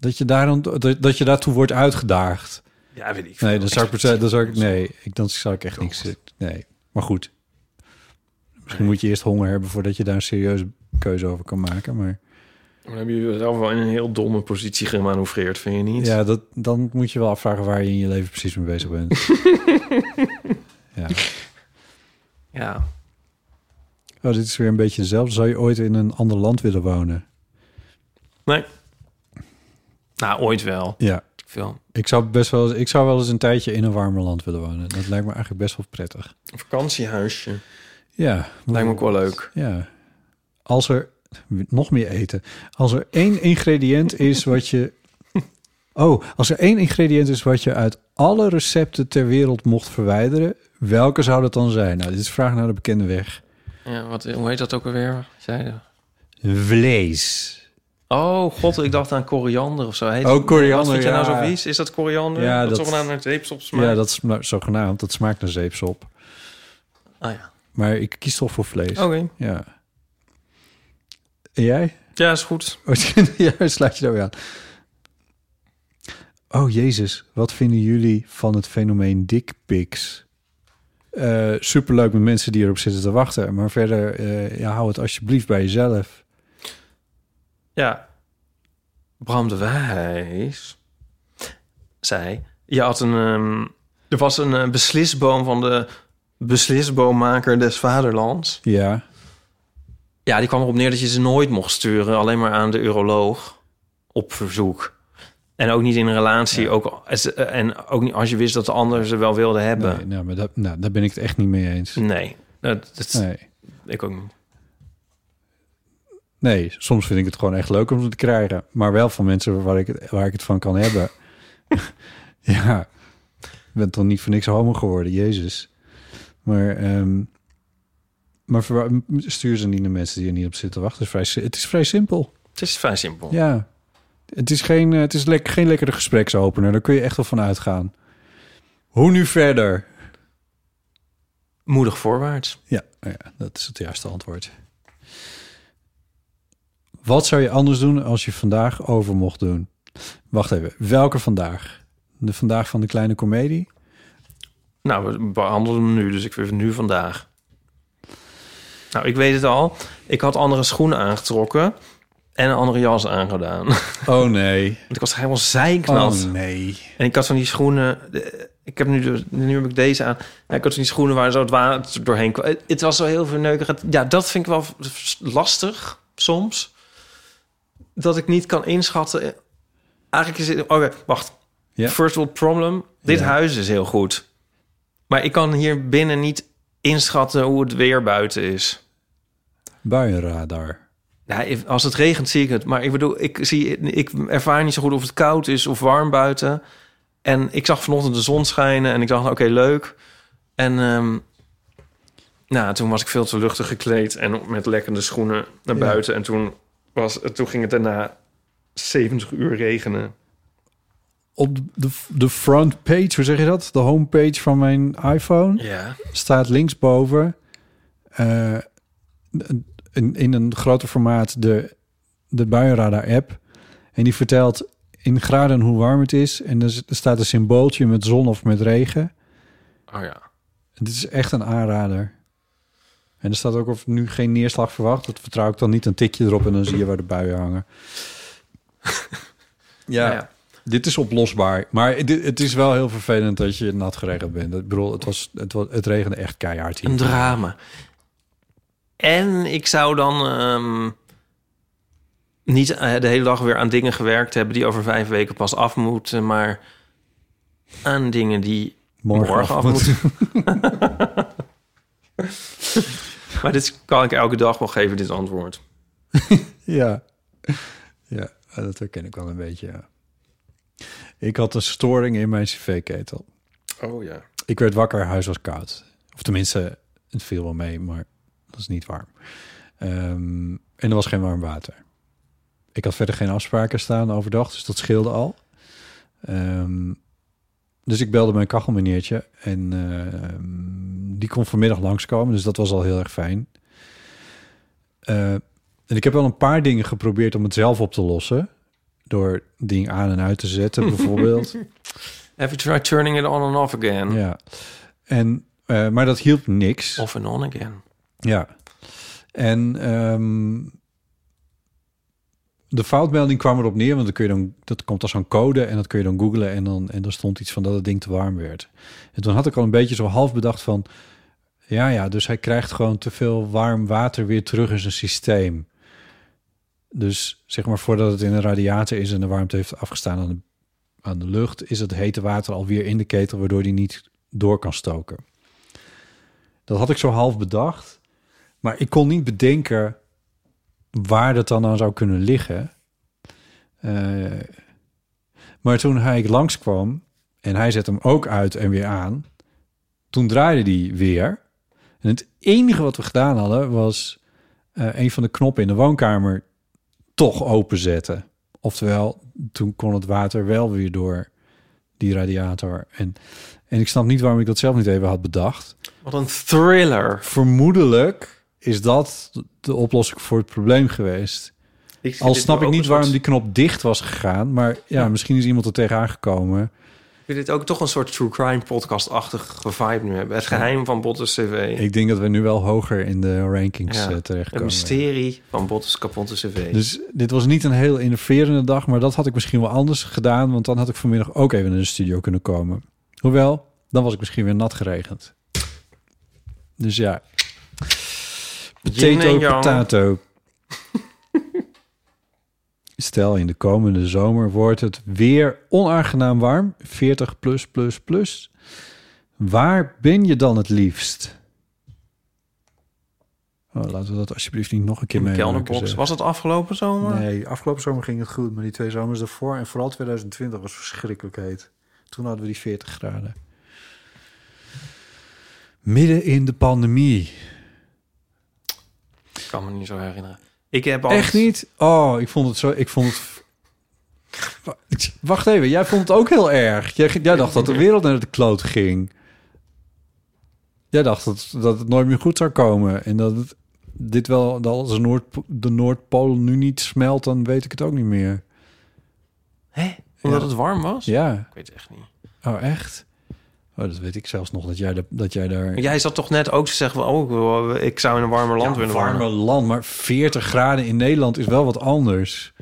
Dat, je daar dan, dat, dat je daartoe wordt uitgedaagd.
Ja, weet ik.
Nee,
veel.
dan zou ik, dan zou ik, nee ik, dan zou ik echt niks... Nee, maar goed. Misschien moet je eerst honger hebben voordat je daar een serieuze keuze over kan maken. Maar...
Dan heb je jezelf wel in een heel domme positie gemanoeuvreerd, vind je niet?
Ja, dat, dan moet je wel afvragen waar je in je leven precies mee bezig bent. ja.
Ja.
Oh, dit is weer een beetje hetzelfde. Zou je ooit in een ander land willen wonen?
Nee. Nou, ooit wel.
Ja.
Ik Veel.
Ik zou best wel, ik zou wel eens een tijdje in een warmer land willen wonen. Dat lijkt me eigenlijk best wel prettig.
Een vakantiehuisje.
Ja.
Lijkt me ook wel leuk.
Ja. Als er nog meer eten. Als er één ingrediënt is wat je. Oh, als er één ingrediënt is wat je uit alle recepten ter wereld mocht verwijderen, welke zou dat dan zijn? Nou, dit is vraag naar de bekende weg.
Ja, wat, hoe heet dat ook alweer? Zei je?
Vlees.
Oh, god, ik dacht aan koriander of zo. Heet
Oh,
het-
koriander,
Wat vind je nou
ja.
zo vies? Is dat koriander?
Ja,
dat,
dat-
is toch naar het zeepsop smaakt?
Ja, dat is nou zogenaamd. Dat smaakt naar zeepsop.
Oh ja.
Maar ik kies toch voor vlees.
Oké.
Ja. En jij?
Ja, is goed.
Oh, ja, slaat je daar weer aan. Oh, Jezus. Wat vinden jullie van het fenomeen dick pics? Eh, superleuk met mensen die erop zitten te wachten. Maar verder, eh, ja, hou het alsjeblieft bij jezelf.
Ja. Bram de Wijs zei... Je had een... ehm, er was een eh, beslisboom van de beslisboommaker des vaderlands.
Ja.
Ja, die kwam erop neer dat je ze nooit mocht sturen. Alleen maar aan de uroloog. Op verzoek. En ook niet in een relatie. Ook, al- en ook niet als je wist dat de ander ze wel wilde hebben.
Nee,
Nee.
nou, maar dat, nou, daar ben ik het echt niet mee eens.
Nou, Dat, dat-
Nee.
Ik ook niet.
Nee, soms vind ik het gewoon echt leuk om ze te krijgen. Maar wel van mensen waar ik het, waar ik het van kan hebben. ja, ik ben toch niet voor niks homo geworden, jezus. Maar, ehm, maar verwa- stuur ze niet naar mensen die er niet op zitten wachten. Het is vrij, si- het is vrij simpel.
Het is vrij simpel.
Ja. Het is geen, eh, het is lek, geen lekkere gespreksopener. Daar kun je echt wel van uitgaan. Hoe nu verder?
Moedig voorwaarts.
Ja, nou ja, dat is het juiste antwoord. Wat zou je anders doen als je vandaag over mocht doen? Wacht even, welke vandaag? De vandaag van de kleine komedie?
Nou, we behandelen hem nu, dus ik vind het nu vandaag. Nou, ik weet het al. Ik had andere schoenen aangetrokken en een andere jas aangedaan. Want
Oh nee.
ik was helemaal zeiknat.
Oh nee.
En ik had van die schoenen... de- Ik heb nu, de- nu heb ik deze aan. Ja, ik had van die schoenen waar zo het water doorheen kwam. Het- Het was zo heel verneukerig. Ja, dat vind ik wel lastig soms. Dat ik niet kan inschatten. Eigenlijk is het... Oké, wacht.
Ja.
First world problem. Dit
Ja.
huis is heel goed. Maar ik kan hier binnen niet inschatten hoe het weer buiten is.
Buienradar.
Nou, als het regent zie ik het. Maar ik bedoel, ik, zie, ik ervaar niet zo goed of het koud is of warm buiten. En ik zag vanochtend de zon schijnen en ik dacht, oké, leuk. En ehm, nou, toen was ik veel te luchtig gekleed en met lekkende schoenen naar
Ja.
buiten. En toen, was, toen ging het daarna 70 uur regenen.
Op de, de front page, hoe zeg je dat? De homepage van mijn iPhone
Ja.
staat linksboven eh, in, in een groter formaat de, de buienradar-app. En die vertelt in graden hoe warm het is. En er z- er staat een symbooltje met zon of met regen.
Oh ja.
Dit is echt een aanrader. En er staat ook of nu geen neerslag verwacht. Dat vertrouw ik dan niet. Een tikje erop en dan zie je waar de buien hangen.
Ja.
ja. Dit is oplosbaar. Maar dit, het is wel heel vervelend dat je nat geregend bent. Ik bedoel, het, was, het, was, het regende echt keihard hier.
Een drama. En ik zou dan ehm, niet eh, de hele dag weer aan dingen gewerkt hebben die over vijf weken pas af moeten, maar aan dingen die morgen, af moeten. maar dit kan ik elke dag wel geven, dit antwoord.
Ja. ja, dat herken ik wel een beetje. ja. Ik had een storing in mijn cv-ketel.
Oh ja.
Ik werd wakker, huis was koud. Of tenminste, het viel wel mee, maar dat is niet warm. Ehm, en er was geen warm water. Ik had verder geen afspraken staan overdag, dus dat scheelde al. Ehm, dus ik belde mijn kachelmeneertje en ehm, die kon vanmiddag langskomen, dus dat was al heel erg fijn. Eh, en ik heb wel een paar dingen geprobeerd om het zelf op te lossen. Door ding aan en uit te zetten, bijvoorbeeld.
Have you tried turning it on and off again?
Ja. En, eh, maar dat hielp niks.
Off and on again.
Ja. En ehm, de foutmelding kwam erop neer, want dan kun je dan, dat komt als zo'n code en dat kun je dan googlen en dan, en dan stond iets van dat het ding te warm werd. En toen had ik al een beetje zo half bedacht van, ja ja, dus hij krijgt gewoon te veel warm water weer terug in zijn systeem. Dus zeg maar voordat het in een radiator is en de warmte heeft afgestaan aan de, aan de lucht, is het hete water alweer in de ketel, waardoor die niet door kan stoken. Dat had ik zo half bedacht. Maar ik kon niet bedenken waar dat dan aan zou kunnen liggen. Eh, maar toen hij langskwam en hij zette hem ook uit en weer aan, toen draaide die weer. En het enige wat we gedaan hadden was eh, een van de knoppen in de woonkamer toch openzetten. Oftewel, toen kon het water wel weer door die radiator. En, en ik snap niet waarom ik dat zelf niet even had bedacht
Wat een thriller.
vermoedelijk is dat de oplossing voor het probleem geweest. Al snap ik niet waarom die knop dicht was gegaan, maar ja, misschien is iemand er tegenaan gekomen.
Ik vind dit ook toch een soort true crime podcast-achtig vibe nu hebben. Het geheim van Bottes CV.
Ik denk dat we nu wel hoger in de rankings
Ja,
eh,
Het
terechtkomen.
mysterie van Bottes kapotte CV.
Dus dit was niet een heel innoverende dag, maar dat had ik misschien wel anders gedaan, want dan had ik vanmiddag ook even naar de studio kunnen komen. Hoewel, dan was ik misschien weer nat geregend. Dus ja,
Yin en
Potato,
yang.
potato. Stel, in de komende zomer wordt het weer onaangenaam warm. 40 plus plus plus. Waar ben je dan het liefst? Oh, laten we dat alsjeblieft niet nog een keer
In de
meemaken.
kelderbox.
zeg.
Was het afgelopen zomer?
Nee, afgelopen zomer ging het goed, maar die twee zomers daarvoor... en vooral 2020 was verschrikkelijk heet. Toen hadden we die 40 graden. Midden in de pandemie.
Ik kan me niet zo herinneren. Ik heb al
Echt niet? Oh, ik vond het zo... Ik vond het... Wacht even, jij vond het ook heel erg. Jij, jij dacht dat de wereld naar de kloot ging. Jij dacht dat, dat het nooit meer goed zou komen. En dat het, dit wel... Dat als de, Noord, de Noordpool nu niet smelt, dan weet ik het ook niet meer.
Hè? Omdat
Ja.
het warm was?
Ja.
Ik weet het echt niet.
Oh, echt? Oh, dat weet ik zelfs nog, dat jij, da- dat jij daar...
Maar Jij zat toch net ook te zeggen, van, oh, ik wil- ik zou in een warmer land
Ja,
willen
warme
wonen.
land, maar 40 graden in Nederland is wel wat anders.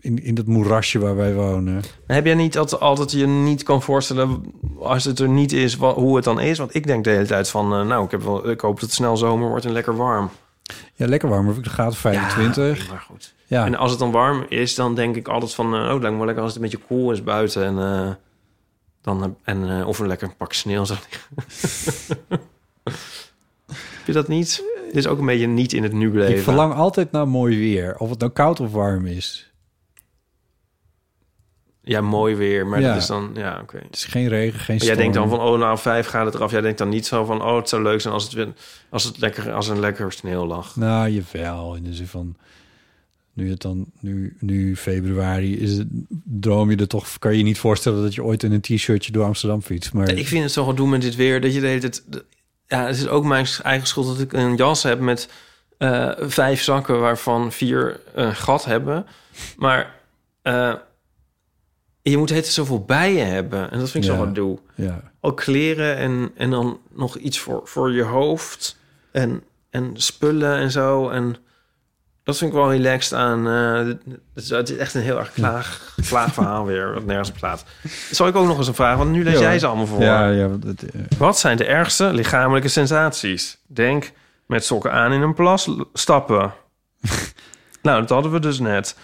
In, in dat moerasje waar wij wonen.
Heb jij niet altijd, altijd je niet kan voorstellen als het er niet is, wa- hoe het dan is? Want ik denk de hele tijd van, eh, nou, ik, heb wel, ik hoop dat het snel zomer wordt en lekker warm.
Ja, lekker warm. Ik gaat 25.
Ja, maar goed.
Ja,
En als het dan warm is, dan denk ik altijd van... eh, oh, het lijkt me wel lekker als het een beetje koel is buiten. En, eh, dan, heb- en, eh, of een lekker pak sneeuw zou liggen. Heb je dat niet? Dit is ook een beetje niet in het nu
ik
leven.
verlang altijd naar mooi weer. Of het nou koud of warm is.
Ja, mooi weer, maar
Ja.
dat is dan... Ja, oké.
Het is geen regen, geen
Maar
storm.
Jij denkt dan van, oh, nou, vijf gaat het eraf. Jij denkt dan niet zo van, oh, het zou leuk zijn als het, weer- als het lekker, als er lekker sneeuw lag.
Nou, jawel. In de zin van... Nu het dan... Nu, nu februari is het... Droom je er toch... Kan je niet voorstellen dat je ooit in een t-shirtje door Amsterdam fietst. Maar...
Ja, Ik vind het zo gedoe met dit weer. Dat je de hele tijd... de- Ja, het is ook mijn eigen schuld dat ik een jas heb met eh, vijf zakken... waarvan vier een gat hebben. Maar eh, je moet het zoveel bijen hebben. En dat vind ik
Ja.
zo gedoe.
Ja.
Ook kleren en, en dan nog iets voor, voor je hoofd. En, en spullen en zo. En dat vind ik wel relaxed aan... eh, dus het is echt een heel erg klaag, klaag verhaal weer. Wat nergens op slaat. Zal ik ook nog eens een vraag? Want nu lees
Ja,
jij
hoor.
ze allemaal voor.
Ja, ja, want het, eh,
Wat zijn de ergste lichamelijke sensaties? Denk met sokken aan in een plas l- stappen. nou, dat hadden we dus net.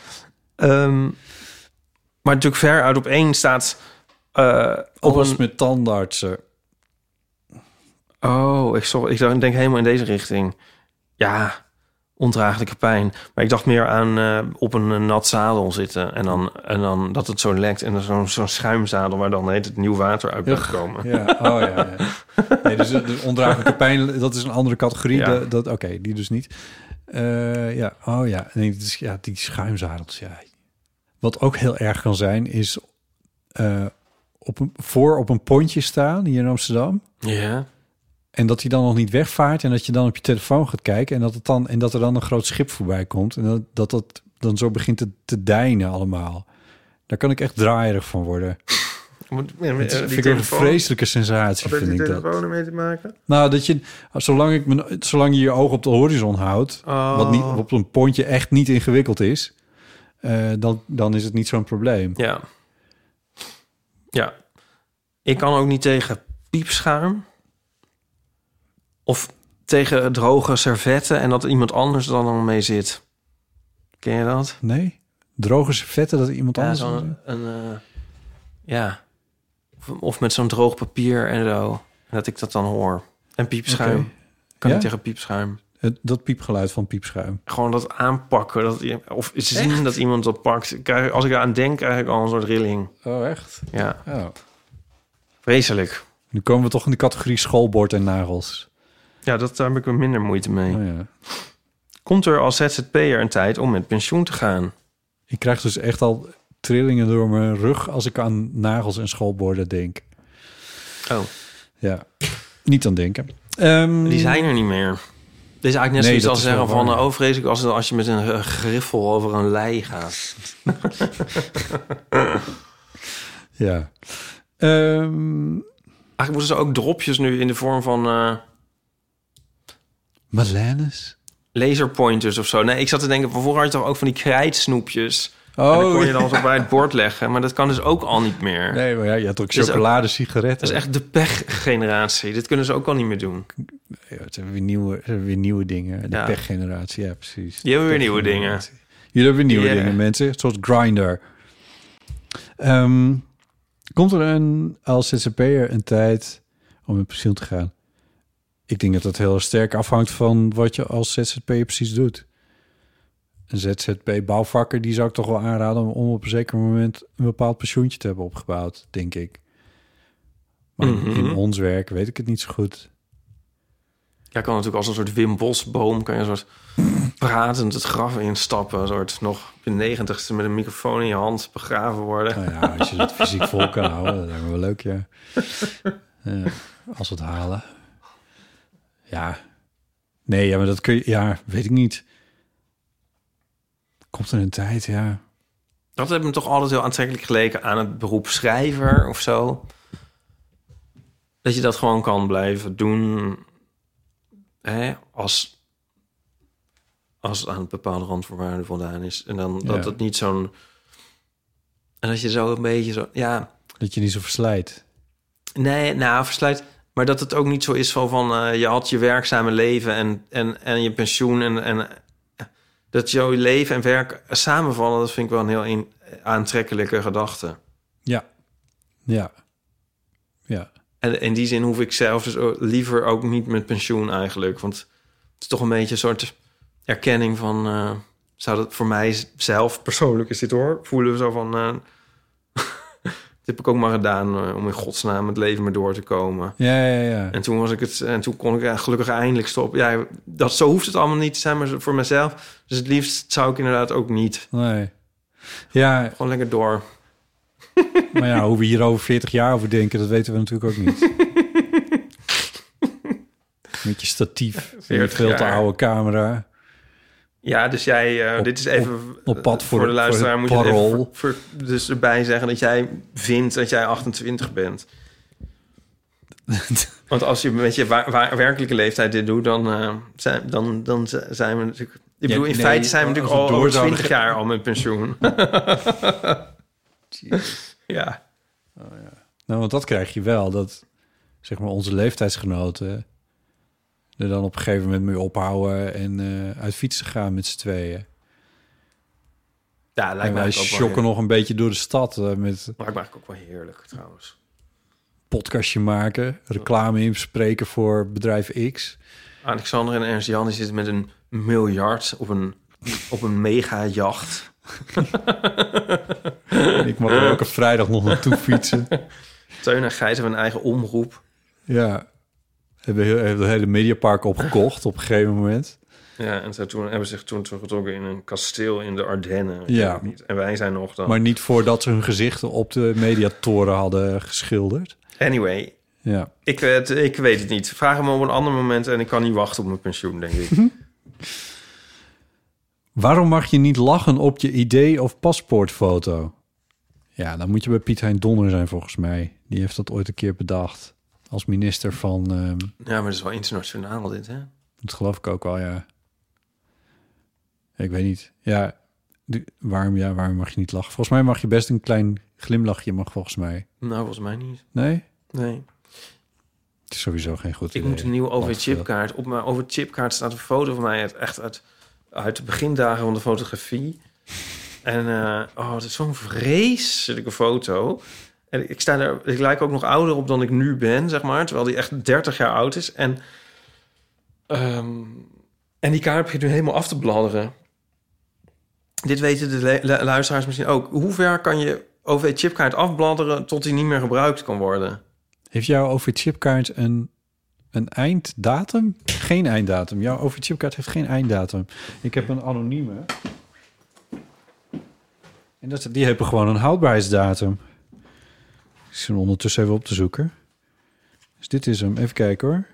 Ehm, maar natuurlijk ver uit op één staat... eh, op
alles
een,
met tandartsen.
oh, ik, sorry, ik dacht- ik denk helemaal in deze richting. Ja, ondraaglijke pijn. Maar ik dacht meer aan eh, op een eh, nat zadel zitten. En dan, en dan dat het zo lekt. En dan zo'n zo'n schuimzadel waar dan heet het nieuw water uit blijft komen.
Ja, oh ja. ja. Nee, dus de ondraaglijke pijn, dat is een andere categorie.
Ja.
De- dat, Oké, die dus niet. Eh, ja, oh ja. Nee, dit is, ja, die schuimzadels, ja. Wat ook heel erg kan zijn, is eh, op een, voor op een pontje staan hier in Amsterdam.
Ja.
En dat hij dan nog niet wegvaart en dat je dan op je telefoon gaat kijken en dat, het dan, en dat er dan een groot schip voorbij komt. En dat dat, dat dan zo begint te, te deinen allemaal. Daar kan ik echt draaierig van worden.
Moet-
Dat
eh, die
vind ik ook een
telefoon.
vreselijke sensatie, vind ik dat.
ermee te maken?
Nou, dat je, zolang, ik mijn, zolang je je oog op de horizon houdt,
Oh.
wat niet, op een pontje echt niet ingewikkeld is, eh, dan, dan is het niet zo'n probleem.
Ja. Ja. Ik kan ook niet tegen piepschuim. Of tegen droge servetten en dat iemand anders dan al mee zit. Ken je dat?
Nee? Droge servetten dat iemand
Ja,
anders...
zo'n... Een, eh, ja. Of, of met zo'n droog papier en zo. En dat ik dat dan hoor. En piepschuim.
Oké.
Kan
Ja?
niet tegen piepschuim.
Het- dat piepgeluid van piepschuim.
Gewoon dat aanpakken. Dat, i- of zien dat iemand dat pakt. Ik krijg- als ik eraan denk, krijg ik al een soort rilling.
Oh, echt?
Ja,
Oh.
vreselijk.
Nu komen we toch in de categorie schoolbord en nagels.
Ja, dat, daar heb ik er minder moeite mee.
Oh, ja.
Komt er als ZZP'er een tijd om met pensioen te gaan?
Ik krijg dus echt al trillingen door mijn rug als ik aan nagels en schoolborden denk.
Oh,
Ja, niet aan denken. Ehm,
die zijn er niet meer. Dit is eigenlijk net
Nee,
zoiets
dat
als
is
zeggen
wel waar.
van... eh, oh, vrees ik als, als je met een eh, griffel over een lei gaat.
Ja. Ehm,
Eigenlijk moeten ze ook dropjes nu in de vorm van eh
Madeleines?
laserpointers of zo. Nee, ik zat te denken, vroeger had je toch ook van die krijtsnoepjes. en dan kon je dan zo bij het bord leggen. Maar dat kan dus ook al niet meer.
Oh, Nee, maar ja, je had ook
Dit is
chocolade, sigaretten.
Dat is echt de pechgeneratie. Dit kunnen ze ook al niet meer doen.
Ja, het zijn weer nieuwe, het zijn weer nieuwe dingen. De
Ja.
pechgeneratie, ja precies.
Die hebben weer nieuwe
Pechgeneratie. Jullie hebben weer nieuwe
Ja.
dingen, mensen. Zoals Grindr. Ehm, komt er een, als zzp'er een tijd om in pensioen te gaan? Ik denk dat dat heel sterk afhangt van wat je als zzp'er precies doet. Een ZZP-bouwvakker, die zou ik toch wel aanraden... om- om op een zeker moment een bepaald pensioentje te hebben opgebouwd, denk ik. Maar in-
Mhm.
in ons werk weet ik het niet zo goed.
Ja, kan natuurlijk als een soort Wim Bosboom... kan je een soort pratend het graf instappen. Een soort nog op je negentigste met een microfoon in je hand begraven worden.
Nou ja, als je dat fysiek vol kan houden, dat lijkt me wel leuk, ja. Ja, als we het halen. Ja. Nee, ja, maar dat kun je... Ja, weet ik niet. Komt er een tijd, ja.
Dat heeft me toch altijd heel aantrekkelijk geleken aan het beroep schrijver of zo. Dat je dat gewoon kan blijven doen hè, als, als het aan een bepaalde randvoorwaarde voldaan is. En dan
Ja.
dat het niet zo'n... En dat je zo een beetje zo... Ja,
Dat je niet zo verslijt.
Nee, nou, versluit. Maar dat het ook niet zo is van, van eh, je had je werkzame leven en, en, en je pensioen. En, en eh, dat jouw leven en werk samenvallen, dat vind ik wel een heel in- aantrekkelijke gedachte.
Ja. Ja. Ja.
En in die zin hoef ik zelf dus ook liever ook niet met pensioen eigenlijk. Want het is toch een beetje een soort erkenning van... eh, zou dat voor mij z- zelf persoonlijk is dit hoor. Voelen we zo van... eh, dit heb ik ook maar gedaan eh, om in godsnaam het leven maar door te komen.
Ja, ja, ja.
En toen was ik het, en toen kon ik eh, gelukkig eindelijk stoppen. Ja, dat, zo hoeft het allemaal niet te zijn, maar voor mezelf. Dus het liefst zou ik inderdaad ook niet.
Nee. Ja,
Gewoon lekker door.
maar ja, hoe we hier over 40 jaar over denken, dat weten we natuurlijk ook niet. Met je statief, en je
40
veel te
jaar.
oude camera.
Ja, dus jij, eh,
Op-
dit is even eh,
op pad voor-
de luisteraar.
voor
moet
het
je het even
parool.
ver- ver- dus erbij zeggen dat jij vindt dat jij 28 bent. Want als je met je wa- wa- werkelijke leeftijd dit doet, dan, eh, zijn, dan, dan z- zijn we natuurlijk. Ik
Ja,
bedoel, in
nee,
feite zijn we
als
natuurlijk
we
al
door
over
zouden
20 jaar al met pensioen. ja.
Nou, want dat krijg je wel, dat zeg maar onze leeftijdsgenoten er dan op een gegeven moment mee ophouden en eh, uit fietsen gaan met z'n tweeën.
Ja, lijkt
En
mij
wij
ook wel
shocken nog een beetje door de stad eh, met
Maakt me eigenlijk ook wel heerlijk trouwens.
podcastje maken, reclame inspreken voor bedrijf X.
Alexander en Ernst Jan die zitten met een miljard op een, op een mega-jacht.
Ik mag er elke vrijdag nog naartoe fietsen.
Teun en Gijs hebben een eigen omroep.
Ja. Hebben heel, hebben het hele mediapark opgekocht op een gegeven moment.
Ja, en ze toen, hebben zich toen teruggetrokken in een kasteel in de Ardennen. Ik
Ja.
weet het niet. En wij zijn nog dan.
Maar niet voordat ze hun gezichten op de mediatoren hadden geschilderd.
Anyway,
Ja.
ik, weet- ik weet het niet. Vraag hem op een ander moment en ik kan niet wachten op mijn pensioen, denk ik.
Mhm. Waarom mag je niet lachen op je ID of paspoortfoto? Ja, dan moet je bij Piet Hein Donner zijn volgens mij. Die heeft dat ooit een keer bedacht. Als minister van... ehm,
ja, maar dat is wel internationaal dit, hè?
dat geloof ik ook wel, ja. Ik weet niet. Ja, die- waarom, ja, waarom mag je niet lachen? Volgens mij mag je best een klein glimlachje, mag volgens mij.
Nou, volgens mij niet.
Nee?
Nee.
Het is sowieso geen goed
Ik
idee.
moet een nieuwe
Wacht, eh.
OV-chipkaart. Op mijn OV-chipkaart staat een foto van mij uit, echt uit, uit de begindagen van de fotografie. En eh, oh, dat is zo'n vreselijke foto. En ik, sta er, ik lijk ook nog ouder op dan ik nu ben, zeg maar. Terwijl die echt 30 jaar oud is. En, ehm, en die kaart begint nu helemaal af te bladderen. Dit weten de le- lu- luisteraars misschien ook. Hoe ver kan je OV-chipkaart afbladderen tot die niet meer gebruikt kan worden?
Heeft jouw OV-chipkaart een, een einddatum? Geen einddatum. Jouw OV-chipkaart heeft geen einddatum. Ik heb een anonieme. En dat, die hebben gewoon een houdbaarheidsdatum. Ik zit hem ondertussen even op te zoeken. Dus dit is hem. Even kijken hoor.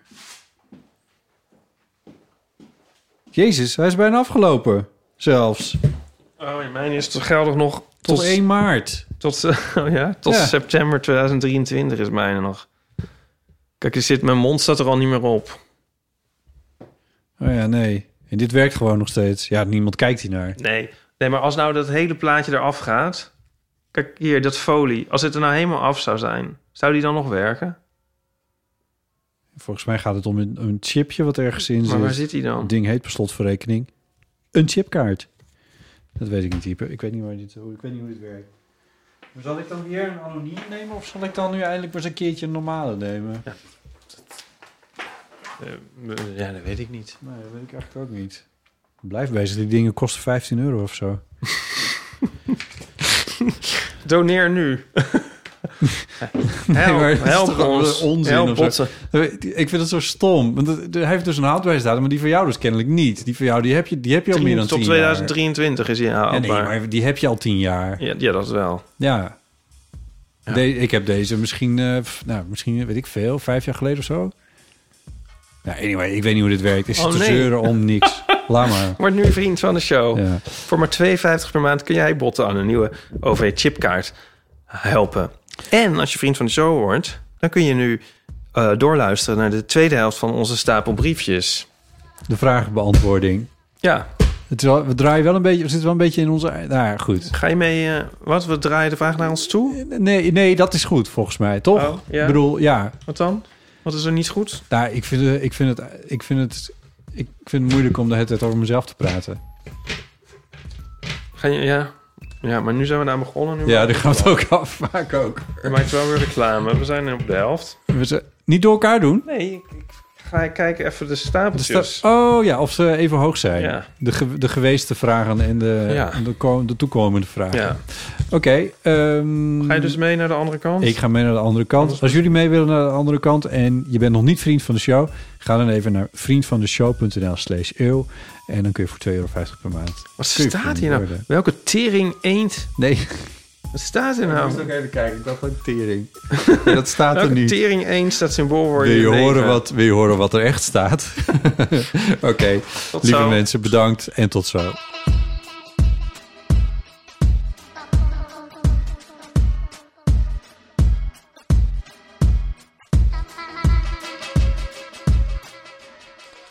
Jezus, hij is bijna afgelopen. Zelfs.
Oh, in mijn is het geldig nog
Tot, 1 maart.
Tot, eh, oh ja, tot
Ja.
september 2023 is mijne nog. Kijk, er zit, mijn mond staat er al niet meer op.
Oh ja, nee. En dit werkt gewoon nog steeds. Ja, niemand kijkt hiernaar.
Nee. nee, maar als nou dat hele plaatje eraf gaat... Kijk, hier, dat folie. Als het er nou helemaal af zou zijn, zou die dan nog werken?
Volgens mij gaat het om een, een chipje wat ergens in
Maar waar
zit.
zit die dan?
Het ding heet per slotverrekening een chipkaart. Dat weet ik niet dieper. Ik weet niet, waar dit, hoe, ik weet niet hoe dit werkt. Maar zal ik dan weer een anoniem nemen of zal ik dan nu eindelijk maar eens een keertje een normale nemen?
Eh, ja, dat weet ik niet.
Nee, dat weet ik eigenlijk ook niet. Blijf bezig, die dingen kosten 15 euro of zo.
Doneer nu.
Nee, maar
Help,
dat is
help
toch wel
ons.
onzin
help
of zo.
botsen.
Eh, Ik vind het zo stom. Want het- hij heeft dus een houdbaarheidsdatum, maar die voor jou dus kennelijk niet. Die voor jou, die heb je, die heb je al meer dan
Tot
tien
2023 is hij
jaar. Ja, nee,
haalbaar.
maar die heb je al tien jaar.
ja, ja, dat wel.
Ja. De- ik heb deze misschien, eh, pff, nou, misschien weet ik veel, vijf jaar geleden of zo. Nou, anyway, ik weet niet hoe dit werkt. Ik zit
Oh,
te
nee.
zeuren om niks. Laat maar.
Word nu vriend van de show.
Ja.
Voor maar 2,50 per maand kun jij botten aan een nieuwe OV-chipkaart helpen. En als je vriend van de show wordt, dan kun je nu eh, doorluisteren naar de tweede helft van onze stapel briefjes.
De vraagbeantwoording.
Ja,
Het is wel- we draaien wel een beetje, we zitten wel een beetje in onze... Nou, ja, goed.
ga je mee? eh, wat? We draaien de vraag naar ons toe?
Nee, nee, dat is goed volgens mij, toch?
Oh, ja.
Ik bedoel, ja.
Wat dan? Wat is er niet goed?
Nou, ik vind, het- ik, vind het, ik, vind het, ik vind het moeilijk om de hele tijd over mezelf te praten.
Ga je, ja. ja, maar nu zijn we daar begonnen. Nu
Ja, daar gaat het ook af, vaak ook.
Je maakt wel weer reclame. We zijn op de helft.
We ze niet door elkaar doen.
Nee, ik, ik ga kijken even de
Dus
stapeltjes.
dat- oh ja, of ze even hoog zijn.
Ja.
De, ge- de geweeste vragen en de,
Ja.
de, ko- de toekomende vragen.
ja.
Oké. ehm,
Ga je dus mee naar de andere kant?
Ik ga mee naar de andere kant. Als jullie mee willen naar de andere kant en je bent nog niet vriend van de show, ga dan even naar vriendvandeshow.nl slash eeuw. En dan kun je voor 2,50 euro per maand.
Wat
kun je
staat
vriend
hier nou?
worden.
Welke tering eend?
Nee,
Wat staat hier
ik
nou?
ook even kijken. Ik dacht ook tering. dat staat er
Welke
niet.
tering eend staat symbool voor
Wil je,
leven?
horen wat, wil je horen wat er echt staat? Oké, lieve
zo.
mensen, bedankt en tot zo.